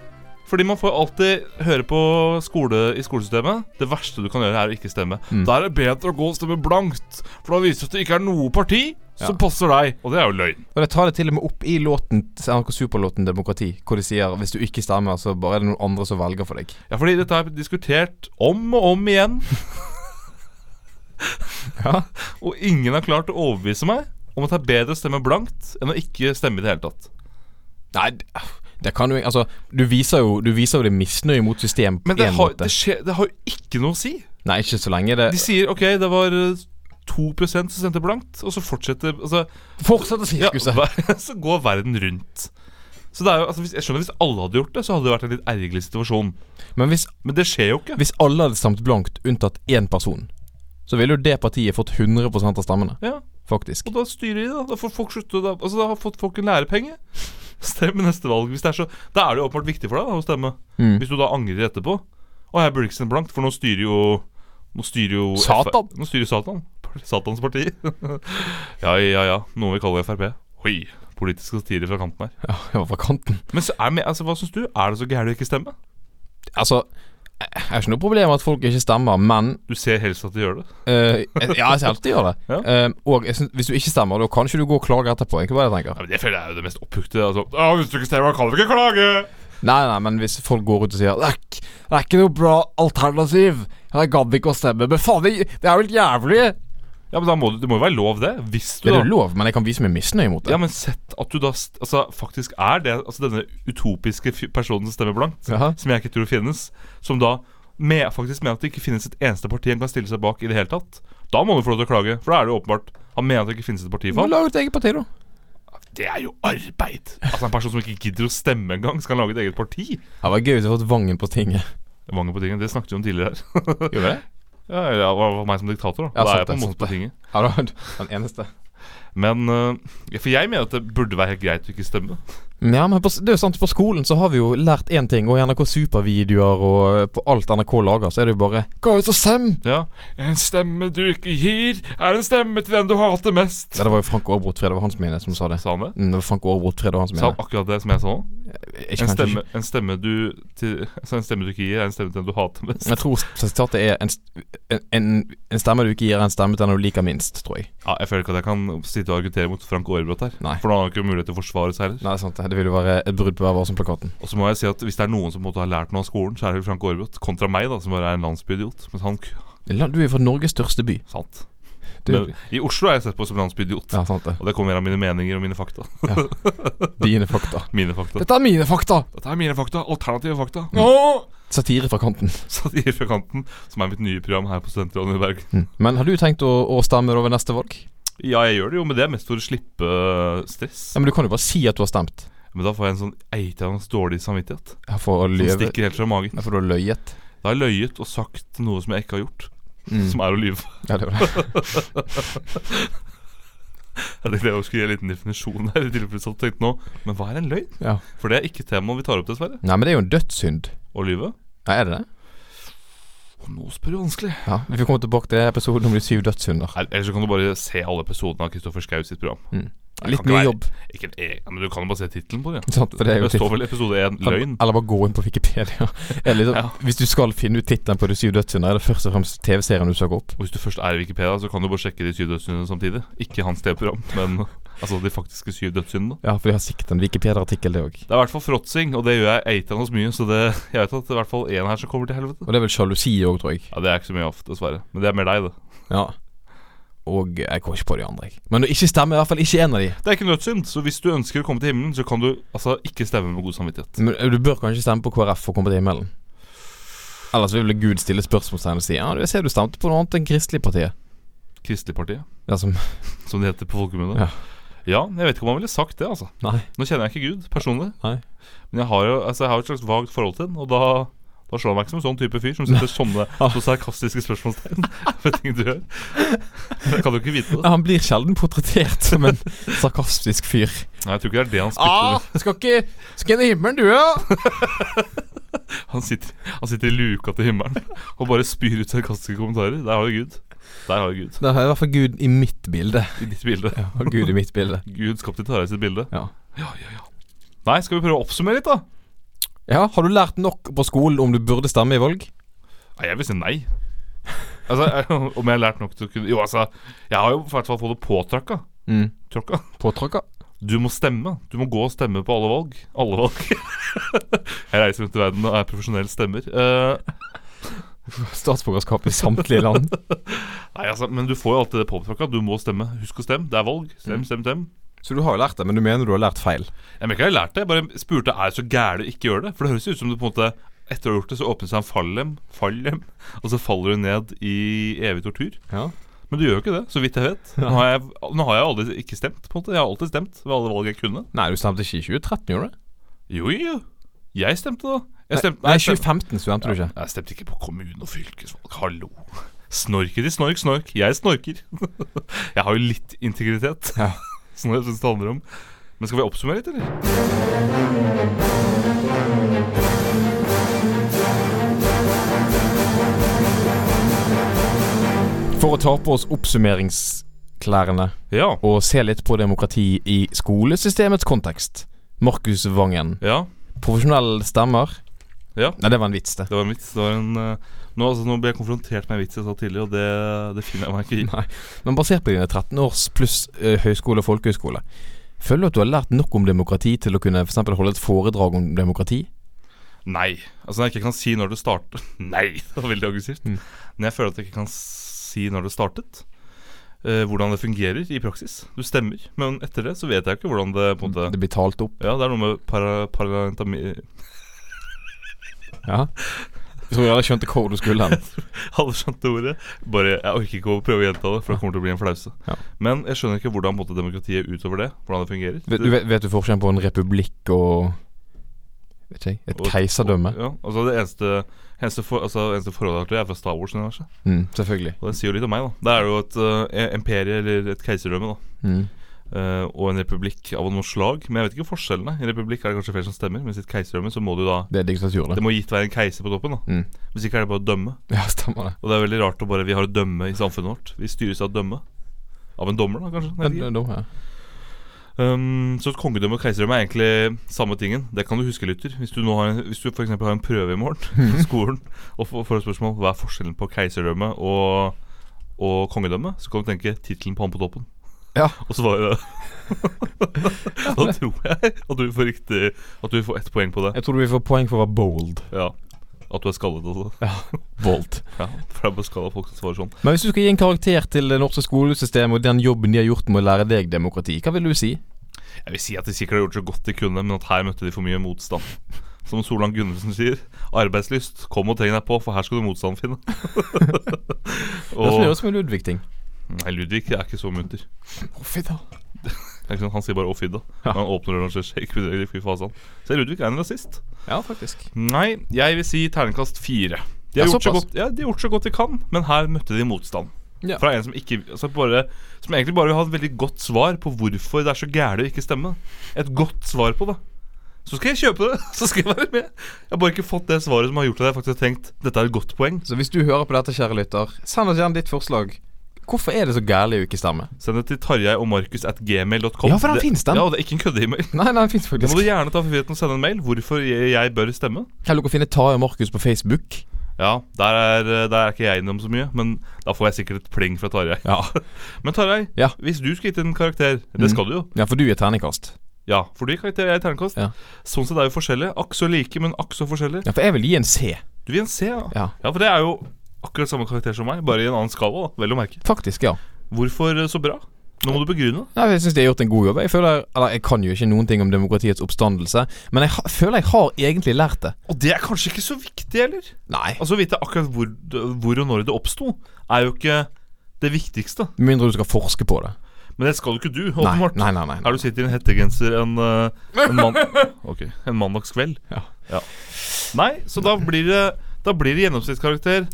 [SPEAKER 3] Fordi man får alltid høre på skole i skolesystemet Det verste du kan gjøre, er å ikke stemme. Da er det bedre å gå og stemme blankt, for da viser det at det ikke er noe parti som
[SPEAKER 2] Ja.
[SPEAKER 3] passer deg. Og det er jo løgn.
[SPEAKER 2] Og det tar det til og med opp i låten NRK Superlåten 'Demokrati', hvor de sier hvis du ikke stemmer, så bare er det noen andre som velger for deg.
[SPEAKER 3] Ja, fordi dette har jeg diskutert om og om igjen.
[SPEAKER 2] Ja,
[SPEAKER 3] Og ingen har klart å overbevise meg om at det er bedre å stemme blankt enn å ikke stemme i det hele tatt.
[SPEAKER 2] Nei, det- det kan du ikke Altså, du viser jo, du viser jo det misnøye mot systemet på
[SPEAKER 3] Men det
[SPEAKER 2] en
[SPEAKER 3] har,
[SPEAKER 2] måte.
[SPEAKER 3] det, skjer, det har jo ikke noe å si.
[SPEAKER 2] Nei, ikke så lenge det
[SPEAKER 3] De sier OK, det var eh, 2 som stemte blankt, og så fortsetter altså,
[SPEAKER 2] Fortsett å
[SPEAKER 3] ja,
[SPEAKER 2] sirkuset!
[SPEAKER 3] ver- Så går verden rundt. Så det er jo, altså, hvis, jeg skjønner Hvis alle hadde gjort det, så hadde det vært en litt ergerlig situasjon.
[SPEAKER 2] Men hvis,
[SPEAKER 3] Men det skjer jo ikke.
[SPEAKER 2] hvis alle hadde stemt blankt unntatt én person, så ville jo det partiet fått 100 av stemmene,
[SPEAKER 3] Ja,
[SPEAKER 2] faktisk.
[SPEAKER 3] Og da styrer de, da. Da får folk slutte da, Altså, da har fått folk en lærepenge. Stem i neste valg. Hvis det er så Da er det jo åpenbart viktig for deg da, å stemme.
[SPEAKER 2] Mm.
[SPEAKER 3] Hvis du da angrer etterpå Å, jeg burde ikke stemme blankt, for nå styrer jo Nå styrer jo
[SPEAKER 2] Satan.
[SPEAKER 3] F nå styrer Satan. Satans parti. ja, ja, ja. Noe vi kaller Frp. Oi. Politisk satire fra kanten her.
[SPEAKER 2] Ja, jeg var fra kanten.
[SPEAKER 3] Men så er, det med- altså, hva syns du? Er det så gærent å ikke stemme?
[SPEAKER 2] Altså, jeg jeg har ikke noe problem med at folk ikke stemmer, men
[SPEAKER 3] Du ser helst at de gjør det.
[SPEAKER 2] eh, Ja, jeg skal alltid gjøre det.
[SPEAKER 3] Ja.
[SPEAKER 2] Eh, og jeg synes, hvis du ikke stemmer, da kan ikke du gå og klage etterpå. Ikke bare jeg tenker.
[SPEAKER 3] Ja, men Det føler jeg er jo det mest opphugte. Altså. «Å, Hvis du ikke stemmer, kan du ikke klage!
[SPEAKER 2] Nei, nei, men hvis folk går ut og sier Det er, ikk- det er ikke noe bra alternativ. Jeg gadd ikke å stemme. Men faen, det, det er jo helt jævlig.
[SPEAKER 3] Ja, men da må du, Det må jo være lov, det. Hvis du
[SPEAKER 2] Det
[SPEAKER 3] da
[SPEAKER 2] er jo lov, men jeg kan vise meg misnøye mot det.
[SPEAKER 3] Ja, men sett at du da st- altså, faktisk er det Altså denne utopiske fy- personen som stemmer blankt,
[SPEAKER 2] Jaha.
[SPEAKER 3] som jeg ikke tror finnes, som da med, faktisk mener at det ikke finnes et eneste parti han kan stille seg bak i det hele tatt. Da må du få lov til å klage, for da er det jo åpenbart Han mener at det ikke finnes et parti for ham.
[SPEAKER 2] Lag et eget parti, da.
[SPEAKER 3] Det er jo arbeid! Altså En person som ikke gidder å stemme engang, skal han lage et eget parti?
[SPEAKER 2] Det var gøy hvis jeg fått Vangen på tinget.
[SPEAKER 3] Mange på tingene, Det snakket vi om tidligere her.
[SPEAKER 2] Gjorde det?
[SPEAKER 3] ja, ja, det var var meg som diktator, da.
[SPEAKER 2] Ja,
[SPEAKER 3] da
[SPEAKER 2] sant
[SPEAKER 3] er jeg på en
[SPEAKER 2] det,
[SPEAKER 3] måte
[SPEAKER 2] sant
[SPEAKER 3] på eh,
[SPEAKER 2] det.
[SPEAKER 3] tinget.
[SPEAKER 2] Ja, da, den eneste.
[SPEAKER 3] Men øh, ja, For jeg mener at det burde være helt greit å ikke stemme.
[SPEAKER 2] Ja, men på, s- det er jo sant, på skolen så har vi jo lært én ting, og i NRK Supervideoer og eh, på alt NRK lager, så er det jo bare Gå ut og sem!
[SPEAKER 3] Ja. En stemme du ikke gir, er en stemme til den du hater mest.
[SPEAKER 2] Ja, det var jo Frank Aarebrot Fred, det var han som inne som sa det.
[SPEAKER 3] Sa han det?
[SPEAKER 2] Mm, det var Frank Aarebrot Fred, det var han som
[SPEAKER 3] Sa
[SPEAKER 2] inne.
[SPEAKER 3] han akkurat det som jeg sa nå?
[SPEAKER 2] Ikke
[SPEAKER 3] En
[SPEAKER 2] kanskje
[SPEAKER 3] stemme,
[SPEAKER 2] ikke.
[SPEAKER 3] en, stemme du til, altså en stemme du ikke gir, er en stemme til den du hater mest.
[SPEAKER 2] Jeg tror sitatet er en, st- en, en stemme du ikke gir, er en stemme til den du liker minst, tror jeg.
[SPEAKER 3] Ja, jeg føler ikke at jeg kan sitte og argumentere mot Frank Aarebrot her.
[SPEAKER 2] Nei.
[SPEAKER 3] For nå har han ikke mulighet til å forsvare seg heller.
[SPEAKER 2] Nei, det er sant. Det vil jo være et brudd på Vær varsom-plakaten.
[SPEAKER 3] Og så må jeg si at Hvis det er noen som på en måte har lært noe av skolen, så er det vel Frank Aarebrot. Kontra meg, da, som bare er en landsbyidiot. Mens han
[SPEAKER 2] La- Du er fra Norges største by.
[SPEAKER 3] Sant.
[SPEAKER 2] Du,
[SPEAKER 3] Men i Oslo er jeg sett på som landsbyidiot.
[SPEAKER 2] ja, sant det.
[SPEAKER 3] Og det kommer av mine meninger og mine fakta.
[SPEAKER 2] Dine fakta.
[SPEAKER 3] Mine fakta.
[SPEAKER 2] Dette er mine fakta!
[SPEAKER 3] Dette er mine fakta. Alternative fakta.
[SPEAKER 2] Satire fra kanten.
[SPEAKER 3] Satire fra kanten, som er mitt nye program her på Studentradioen i Bergen.
[SPEAKER 2] Men har du tenkt å, å stemme over neste valg?
[SPEAKER 3] Ja, jeg gjør det jo, men det er mest for å slippe eh, stress.
[SPEAKER 2] Ja, Men du kan jo bare si at du har stemt.
[SPEAKER 3] Men da får jeg en sånn eitende dårlig samvittighet.
[SPEAKER 2] Ja, For å
[SPEAKER 3] Som
[SPEAKER 2] løye.
[SPEAKER 3] stikker helt fra magen.
[SPEAKER 2] Ja, For du har løyet.
[SPEAKER 3] Da har jeg løyet og sagt noe som jeg ikke har gjort.
[SPEAKER 2] Mm.
[SPEAKER 3] Som er å lyve.
[SPEAKER 2] Ja, det var det.
[SPEAKER 3] Jeg tenkte jeg skulle gi en liten definisjon her. i tilfelle jeg tenkte nå Men hva er en løgn?
[SPEAKER 2] Ja.
[SPEAKER 3] For det er ikke temaet vi tar opp, dessverre.
[SPEAKER 2] Nei, men det er jo en dødssynd.
[SPEAKER 3] Å lyve.
[SPEAKER 2] Ja, er det det?
[SPEAKER 3] Og nå spør du vanskelig.
[SPEAKER 2] Ja, Vi får komme tilbake til episoden om de syv dødssynder.
[SPEAKER 3] Nei, Ellers så kan du bare se alle episodene av Kristoffer Schau sitt program.
[SPEAKER 2] Litt
[SPEAKER 3] kan ikke
[SPEAKER 2] mye
[SPEAKER 3] være-
[SPEAKER 2] jobb.
[SPEAKER 3] Ikke en e men Du kan jo bare se tittelen på det. ja.
[SPEAKER 2] Sant, for det er jo
[SPEAKER 3] Det står
[SPEAKER 2] titt-
[SPEAKER 3] vel i episode 1 løgn.
[SPEAKER 2] Eller bare gå inn på Wikipedia. Eller liksom,
[SPEAKER 3] Ja.
[SPEAKER 2] Hvis du skal finne ut tittelen på De syv dødssynder, er det først og fremst TV-serien du søker opp.
[SPEAKER 3] Og Hvis du først er i Wikipedia, så kan du bare sjekke de syv dødssyndene samtidig. Ikke hans TV-program, men altså de faktiske syv dødssyndene.
[SPEAKER 2] Ja, for de har sikkert en Wikipedia-artikkel, det òg.
[SPEAKER 3] Det er i hvert fall fråtsing, og det gjør jeg eitrende mye, så det, jeg vet at det er i hvert fall én her som kommer til helvete.
[SPEAKER 2] Og det er vel sjalusi òg, tror jeg.
[SPEAKER 3] Ja, Det er ikke så mye av, dessverre. Men det er mer deg, det.
[SPEAKER 2] Ja. Og jeg kommer ikke på de andre, jeg. Men å ikke stemme er i hvert fall ikke en av de.
[SPEAKER 3] Det er ikke nødsynd, så hvis du ønsker å komme til himmelen, så kan du altså ikke stemme med god samvittighet.
[SPEAKER 2] Men eh, du bør kanskje stemme på KrF for å komme til himmelen. Ellers vil vel Gud stille spørsmålstegn og si Ja, du, jeg ser du stemte på noe annet enn Kristelig Partiet.
[SPEAKER 3] Kristelig Parti,
[SPEAKER 2] Ja, som
[SPEAKER 3] som det heter på folkemunne.
[SPEAKER 2] Ja.
[SPEAKER 3] ja, jeg vet ikke om han ville sagt det, altså.
[SPEAKER 2] Nei.
[SPEAKER 3] Nå kjenner jeg ikke Gud personlig,
[SPEAKER 2] Nei.
[SPEAKER 3] men jeg har jo altså, jeg har jo et slags vagt forhold til den. Og da, da slår han meg ikke som en sånn type fyr som setter sånne så sarkastiske spørsmålstegn ved ting du gjør. Jeg kan jo ikke vite
[SPEAKER 2] Ja,
[SPEAKER 3] det.
[SPEAKER 2] han blir sjelden portrettert som en sarkastisk fyr.
[SPEAKER 3] Nei, jeg tror ikke det er det han spytter ut.
[SPEAKER 2] skal ikke Skal inn i himmelen, du, ja?
[SPEAKER 3] Han sitter, han sitter i luka til himmelen og bare spyr ut sarkastiske kommentarer. Der har du Gud. Der har du Gud
[SPEAKER 2] Da har jeg i hvert fall Gud i mitt bilde.
[SPEAKER 3] i ditt bilde.
[SPEAKER 2] Har Gud i mitt bilde.
[SPEAKER 3] Gud skapte Tarjei sitt bilde.
[SPEAKER 2] Ja.
[SPEAKER 3] ja, ja, ja. Nei, skal vi prøve å oppsummere litt, da?
[SPEAKER 2] Ja, har du lært nok på skolen om du burde stemme i valg?
[SPEAKER 3] Nei, jeg vil si nei. Altså, jeg- Om jeg har lært nok til å kunne Jo, altså, jeg har jo i hvert fall fått det påtrakka.
[SPEAKER 2] Mm.
[SPEAKER 3] Tråkka.
[SPEAKER 2] Påtråkka?
[SPEAKER 3] Du må stemme. Du må gå og stemme på alle valg. Alle valg. jeg reiser rundt i verden og er profesjonell stemmer. Eh,
[SPEAKER 2] Statsborgerskap i samtlige land.
[SPEAKER 3] nei, altså, Men du får jo alltid det påtrakka. Du må stemme. Husk å stemme. Det er valg. Stem, stem, stem.
[SPEAKER 2] Så du har jo lært det, men du mener du har lært feil?
[SPEAKER 3] Jeg mener ikke jeg har lært det. Jeg bare spurte er det så gærent å ikke gjøre det. For det høres jo ut som du på en måte etter å ha gjort det, så åpner seg en fallem, fallem, og så faller du ned i evig tortur.
[SPEAKER 2] Ja.
[SPEAKER 3] Men du gjør jo ikke det, så vidt jeg vet. Nå har jeg, nå har jeg aldri ikke stemt. på en måte Jeg har alltid stemt ved alle valg jeg kunne.
[SPEAKER 2] Nei, du stemte ikke i 2013, gjorde du?
[SPEAKER 3] Jo, jo. Jeg stemte, da. Jeg stemte,
[SPEAKER 2] Nei,
[SPEAKER 3] jeg stemte,
[SPEAKER 2] 2015 stemte du ikke.
[SPEAKER 3] jeg stemte ikke på kommune- og fylkesvalg. Hallo. Snorker til snork, snork. Jeg snorker. jeg har jo litt integritet,
[SPEAKER 2] Ja.
[SPEAKER 3] som jeg syns det handler om. Men skal vi oppsummere litt, eller?
[SPEAKER 2] For å ta på oss oppsummeringsklærne
[SPEAKER 3] Ja.
[SPEAKER 2] og se litt på demokrati i skolesystemets kontekst. Markus Vangen.
[SPEAKER 3] ja.
[SPEAKER 2] Profesjonell stemmer.
[SPEAKER 3] Ja.
[SPEAKER 2] Nei, det var en vits, det.
[SPEAKER 3] Det var en vits. Det var en, eh, nå, altså, nå ble jeg konfrontert med en vits jeg sa tidligere, og det, det finner jeg meg ikke i.
[SPEAKER 2] Nei. Men basert på dine 13 års pluss eh, høyskole og folkehøyskole, føler du at du har lært nok om demokrati til å kunne for eksempel holde et foredrag om demokrati?
[SPEAKER 3] Nei. Altså når jeg ikke kan si når det startet Nei, det var veldig aggressivt. Men jeg føler at jeg ikke kan si når det startet. eh, hvordan det fungerer i praksis. Du stemmer, men etter det så vet jeg ikke hvordan det på en måte
[SPEAKER 2] Det blir talt opp.
[SPEAKER 3] Ja, det er noe med para, parlamentami...
[SPEAKER 2] Ja. Jeg tror jeg hadde skjønt hvor du skulle hen.
[SPEAKER 3] Alle skjønte ordet. Bare, Jeg orker ikke å prøve å gjenta det, for det kommer til å bli en flause.
[SPEAKER 2] Ja.
[SPEAKER 3] Men jeg skjønner ikke hvordan på en måte, demokratiet er utover det. Hvordan det fungerer.
[SPEAKER 2] Vet du, vet du forskjellen på en republikk og Vet ikke jeg, et
[SPEAKER 3] Og-
[SPEAKER 2] keiserdømme?
[SPEAKER 3] Ja, altså Det eneste, eneste, for, altså, eneste forholdet jeg har til det, er fra Star Wars-universet.
[SPEAKER 2] Mm, selvfølgelig.
[SPEAKER 3] e, Og det sier jo litt om meg, da. Det er jo et eh, imperie eller et keiserdømme, da.
[SPEAKER 2] Mm.
[SPEAKER 3] eh, og en republikk av noe slag. Men jeg vet ikke forskjellene. I en republikk er det kanskje flere som stemmer. Mens i et keiserdømme så må du da
[SPEAKER 2] Det er diktatur,
[SPEAKER 3] Det
[SPEAKER 2] det.
[SPEAKER 3] må gitt være en keiser på toppen. da
[SPEAKER 2] Mm.
[SPEAKER 3] Hvis ikke er det bare å dømme.
[SPEAKER 2] Ja, stemmer det.
[SPEAKER 3] Og det er veldig rart å bare Vi har å dømme i samfunnet vårt. Vi styres av å dømme. Av en dommer, da, kanskje. Jeg vet
[SPEAKER 2] Det
[SPEAKER 3] ikke.
[SPEAKER 2] er dumt, eh, ja.
[SPEAKER 3] Um, så kongedømme og keiserdømme er egentlig samme tingen. Det kan du huske, lytter. Hvis du, nå har, en- hvis du for eksempel har en prøve i morgen på skolen og får, får et spørsmål hva er forskjellen på keiserdømme og, og kongedømme, så kan du tenke tittelen på han på toppen.
[SPEAKER 2] Ja.
[SPEAKER 3] Og svarer det. da tror jeg at du får riktig At du får ett poeng på det.
[SPEAKER 2] Jeg tror vi får poeng for å være bold.
[SPEAKER 3] Ja. At du er skallet, altså.
[SPEAKER 2] Bold.
[SPEAKER 3] Ja, for det er bare skalla folk som svarer sånn.
[SPEAKER 2] Men hvis du skal gi en karakter til det norske skolesystemet og den jobben de har gjort med å lære deg demokrati, hva vil du si?
[SPEAKER 3] Jeg vil si at de sikkert har gjort så godt de kunne, men at her møtte de for mye motstand. Som Solan Gunnarsen sier, arbeidslyst, kom og tegn deg på, for her skal du motstand finne.
[SPEAKER 2] Det
[SPEAKER 3] og
[SPEAKER 2] høres ut som en Ludvig-ting.
[SPEAKER 3] Nei, Ludvig er ikke så munter. Det er ikke sånn, Han sier bare 'å, fidda'.
[SPEAKER 2] Ja.
[SPEAKER 3] Når han åpner døren og ser shake fidda, fy fasan. Så Ludvig er en rasist.
[SPEAKER 2] Ja, faktisk.
[SPEAKER 3] Nei, jeg vil si terningkast fire. De
[SPEAKER 2] Ja,
[SPEAKER 3] har, gjort så
[SPEAKER 2] såpass.
[SPEAKER 3] godt, ja, de har gjort så godt de kan, men her møtte de motstand.
[SPEAKER 2] Ja.
[SPEAKER 3] Fra en som, ikke, altså bare, som egentlig bare vil ha et veldig godt svar på hvorfor det er så gærent å ikke stemme. Et godt svar på det. Så skal jeg kjøpe det! Så skal jeg være med. Jeg har bare ikke fått det svaret som har gjort at jeg faktisk har tenkt dette er et godt poeng.
[SPEAKER 2] Så hvis du hører på dette, kjære lytter, send oss gjerne ditt forslag. Hvorfor er det så gærlig å ikke stemme?
[SPEAKER 3] Send det til Tarjei og Markus at gmail.com.
[SPEAKER 2] Ja, for den
[SPEAKER 3] Det-
[SPEAKER 2] finnes, den.
[SPEAKER 3] Ja, og det er ikke en kødde-email.
[SPEAKER 2] Nei, nei, det fins
[SPEAKER 3] Da må
[SPEAKER 2] faktisk.
[SPEAKER 3] du gjerne ta friheten og sende en mail hvorfor jeg, jeg bør stemme.
[SPEAKER 2] Kan dere finne Tarjei og Markus på Facebook?
[SPEAKER 3] Ja, der er, der er ikke jeg innom så mye, men da får jeg sikkert et pling fra Tarjei.
[SPEAKER 2] Ja.
[SPEAKER 3] Men Tarjei,
[SPEAKER 2] Ja. Mm.
[SPEAKER 3] hvis du skulle gitt en karakter Det skal du jo.
[SPEAKER 2] Ja, for du er terningkast.
[SPEAKER 3] Ja, for du gir karakter jeg i terningkast.
[SPEAKER 2] Ja.
[SPEAKER 3] Sånn sett er jo forskjellige. Akk så like, men akk så forskjellige.
[SPEAKER 2] Ja, for jeg vil gi en C,
[SPEAKER 3] Du vil gi en C, ja.
[SPEAKER 2] Ja.
[SPEAKER 3] for det er jo akkurat samme karakter som meg, bare i en annen skala, da. Vel å merke.
[SPEAKER 2] faktisk. ja
[SPEAKER 3] Hvorfor eh, så bra? Nå må du begrunne.
[SPEAKER 2] Nei, Jeg syns de har gjort en god jobb. Jeg føler, eller jeg kan jo ikke noen ting om demokratiets oppstandelse, men jeg ha, føler jeg har egentlig lært det.
[SPEAKER 3] Og det er kanskje ikke så viktig heller.
[SPEAKER 2] Nei.
[SPEAKER 3] Altså Å vite akkurat hvor, hvor og når det oppsto, er jo ikke det viktigste.
[SPEAKER 2] Med mindre du skal forske på det.
[SPEAKER 3] Men det skal jo ikke du,
[SPEAKER 2] Nei,
[SPEAKER 3] åpenbart.
[SPEAKER 2] nei, nei, nei,
[SPEAKER 3] Her du sitter i en hettegenser en, eh, en, mann, ok, en mandagskveld.
[SPEAKER 2] Ja.
[SPEAKER 3] Nei, så da blir det Da blir det gjennomsnittskarakter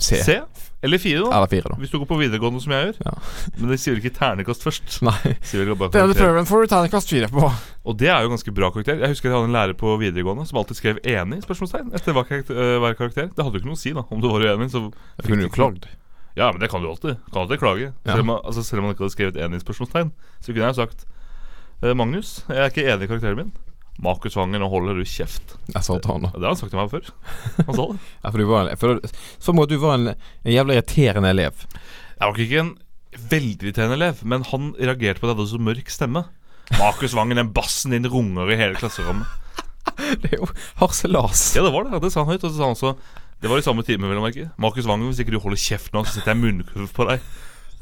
[SPEAKER 2] C.
[SPEAKER 3] C. Eller 4, da.
[SPEAKER 2] Eller fire, da.
[SPEAKER 3] Hvis du går på videregående, som jeg gjør.
[SPEAKER 2] Ja.
[SPEAKER 3] Men de sier vel ikke ternekast først.
[SPEAKER 2] Nei.
[SPEAKER 3] Sier vel bare karakter.
[SPEAKER 2] får du terningkast fire på.
[SPEAKER 3] Og det er jo ganske bra karakter. Jeg husker jeg hadde en lærer på videregående som alltid skrev 'enig?' spørsmålstegn etter hver karakter. eh, hver karakter. Det hadde jo ikke noe å si, da, om du var uenig. Så
[SPEAKER 2] Jeg kunne jo klagd.
[SPEAKER 3] Ja, men det kan du alltid. Kan alltid klage. Selv, om, altså, selv om man ikke hadde skrevet enig i spørsmålstegn, så kunne jeg jo sagt «Eh, Magnus, jeg er ikke enig i karakteren min. Makusvanger, nå holder du kjeft.
[SPEAKER 2] Jeg sa til han da.
[SPEAKER 3] Ja, Det har han sagt til meg før. Han sa det.
[SPEAKER 2] Ja, for du var en, jeg føler, som at du var en, en jævla irriterende elev.
[SPEAKER 3] Jeg var nok ikke en veldig irriterende elev, men han reagerte på at jeg hadde så mørk stemme. Makusvanger, den bassen din runger i hele klasserommet.
[SPEAKER 2] Det er jo harselas.
[SPEAKER 3] Ja, det var det. Ja, det sa han høyt. Og så sa han også Det var i samme time, vil jeg merke. Markus Wangen, hvis ikke du holder kjeft nå, så setter jeg munnkurv på deg.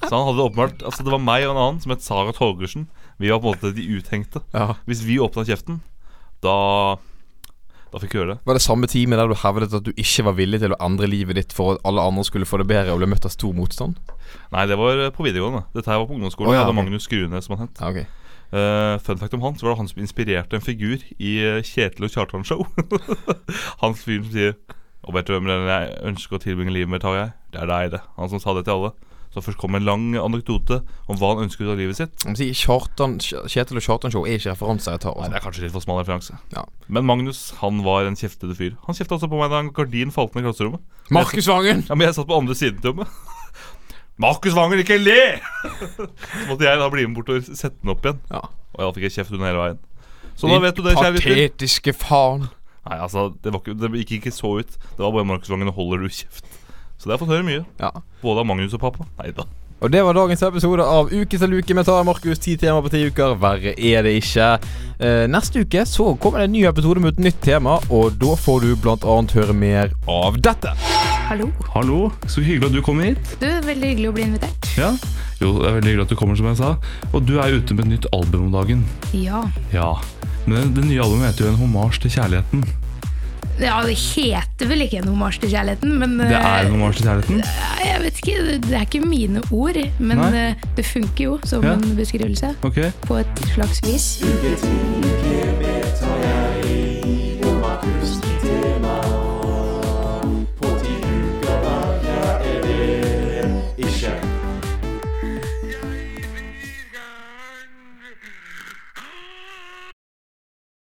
[SPEAKER 3] Så han hadde åpenbart Altså, det var meg og en annen som het Sara Torgersen. Vi var på en måte de uthengte.
[SPEAKER 2] Ja.
[SPEAKER 3] Hvis vi åpna kjeften, da Da fikk vi gjøre det.
[SPEAKER 2] Var det samme time der du hevdet at du ikke var villig til å endre livet ditt for at alle andre skulle få det bedre og ble møtt av stor motstand?
[SPEAKER 3] Nei, det var eh, på videregående. Dette her var på ungdomsskolen.
[SPEAKER 2] Å, ja,
[SPEAKER 3] Jeg hadde
[SPEAKER 2] ok.
[SPEAKER 3] Magnus Grunes, som han het.
[SPEAKER 2] Ja, ok
[SPEAKER 3] Eh, fun fact om han, så var det han som inspirerte en figur i eh, Kjetil og Kjartan-show. han fyren som sier Og vet du hvem den jeg ønsker å tilbringe livet med, tar jeg? Det er deg, det. Han som sa det til alle. Så først kom en lang anekdote om hva han ønsket ut av livet sitt.
[SPEAKER 2] Jeg må si, Kjartan, Kj- Kjetil og Kjartan Show er ikke referanser jeg tar.
[SPEAKER 3] Nei,
[SPEAKER 2] Altså.
[SPEAKER 3] det er kanskje litt for smal referanse.
[SPEAKER 2] Ja.
[SPEAKER 3] Men Magnus han var en kjeftete fyr. Han kjefta altså på meg da en gardin falt ned i klasserommet.
[SPEAKER 2] Markus Vangen!
[SPEAKER 3] Ja, men jeg satt på andre siden til rommet. Markus Wangen, ikke le! Så måtte jeg da bli med bort og sette den opp igjen.
[SPEAKER 2] Ja.
[SPEAKER 3] Og da fikk jeg kjeft under hele veien. Så da vet du det, kjære lytter.
[SPEAKER 2] Patetiske faen.
[SPEAKER 3] Nei, altså, det, var ikke, det gikk ikke så ut. Det var bare Markus Wangen, nå holder du kjeft. Så det har jeg fått høre mye.
[SPEAKER 2] Ja.
[SPEAKER 3] Både av Magnus og pappa. Nei da.
[SPEAKER 2] Og det var dagens episode av Uke til uke med Tara Markus. Ti temaer på ti uker. Verre er det ikke. Eh, neste uke så kommer det en ny episode med et nytt tema, og da får du blant annet høre mer av dette.
[SPEAKER 5] Hallo.
[SPEAKER 4] Hallo, så hyggelig at du kommer hit.
[SPEAKER 5] Du, veldig hyggelig å bli invitert.
[SPEAKER 4] Ja. Jo, det er veldig hyggelig at du kommer, som jeg sa. Og du er ute med et nytt album om dagen.
[SPEAKER 5] Ja.
[SPEAKER 4] Ja. Men det nye albumet heter jo en hommage til kjærligheten.
[SPEAKER 5] ja. Det heter vel ikke en hommage til kjærligheten, men
[SPEAKER 4] Det er
[SPEAKER 5] eh,
[SPEAKER 4] en hommage til kjærligheten.
[SPEAKER 5] nei, jeg vet ikke, det- det er ikke mine ord, men
[SPEAKER 4] Nei.
[SPEAKER 5] eh, det funker jo som
[SPEAKER 4] Ja.
[SPEAKER 5] en beskrivelse.
[SPEAKER 4] Ok.
[SPEAKER 5] På et slags vis.
[SPEAKER 6] Ikke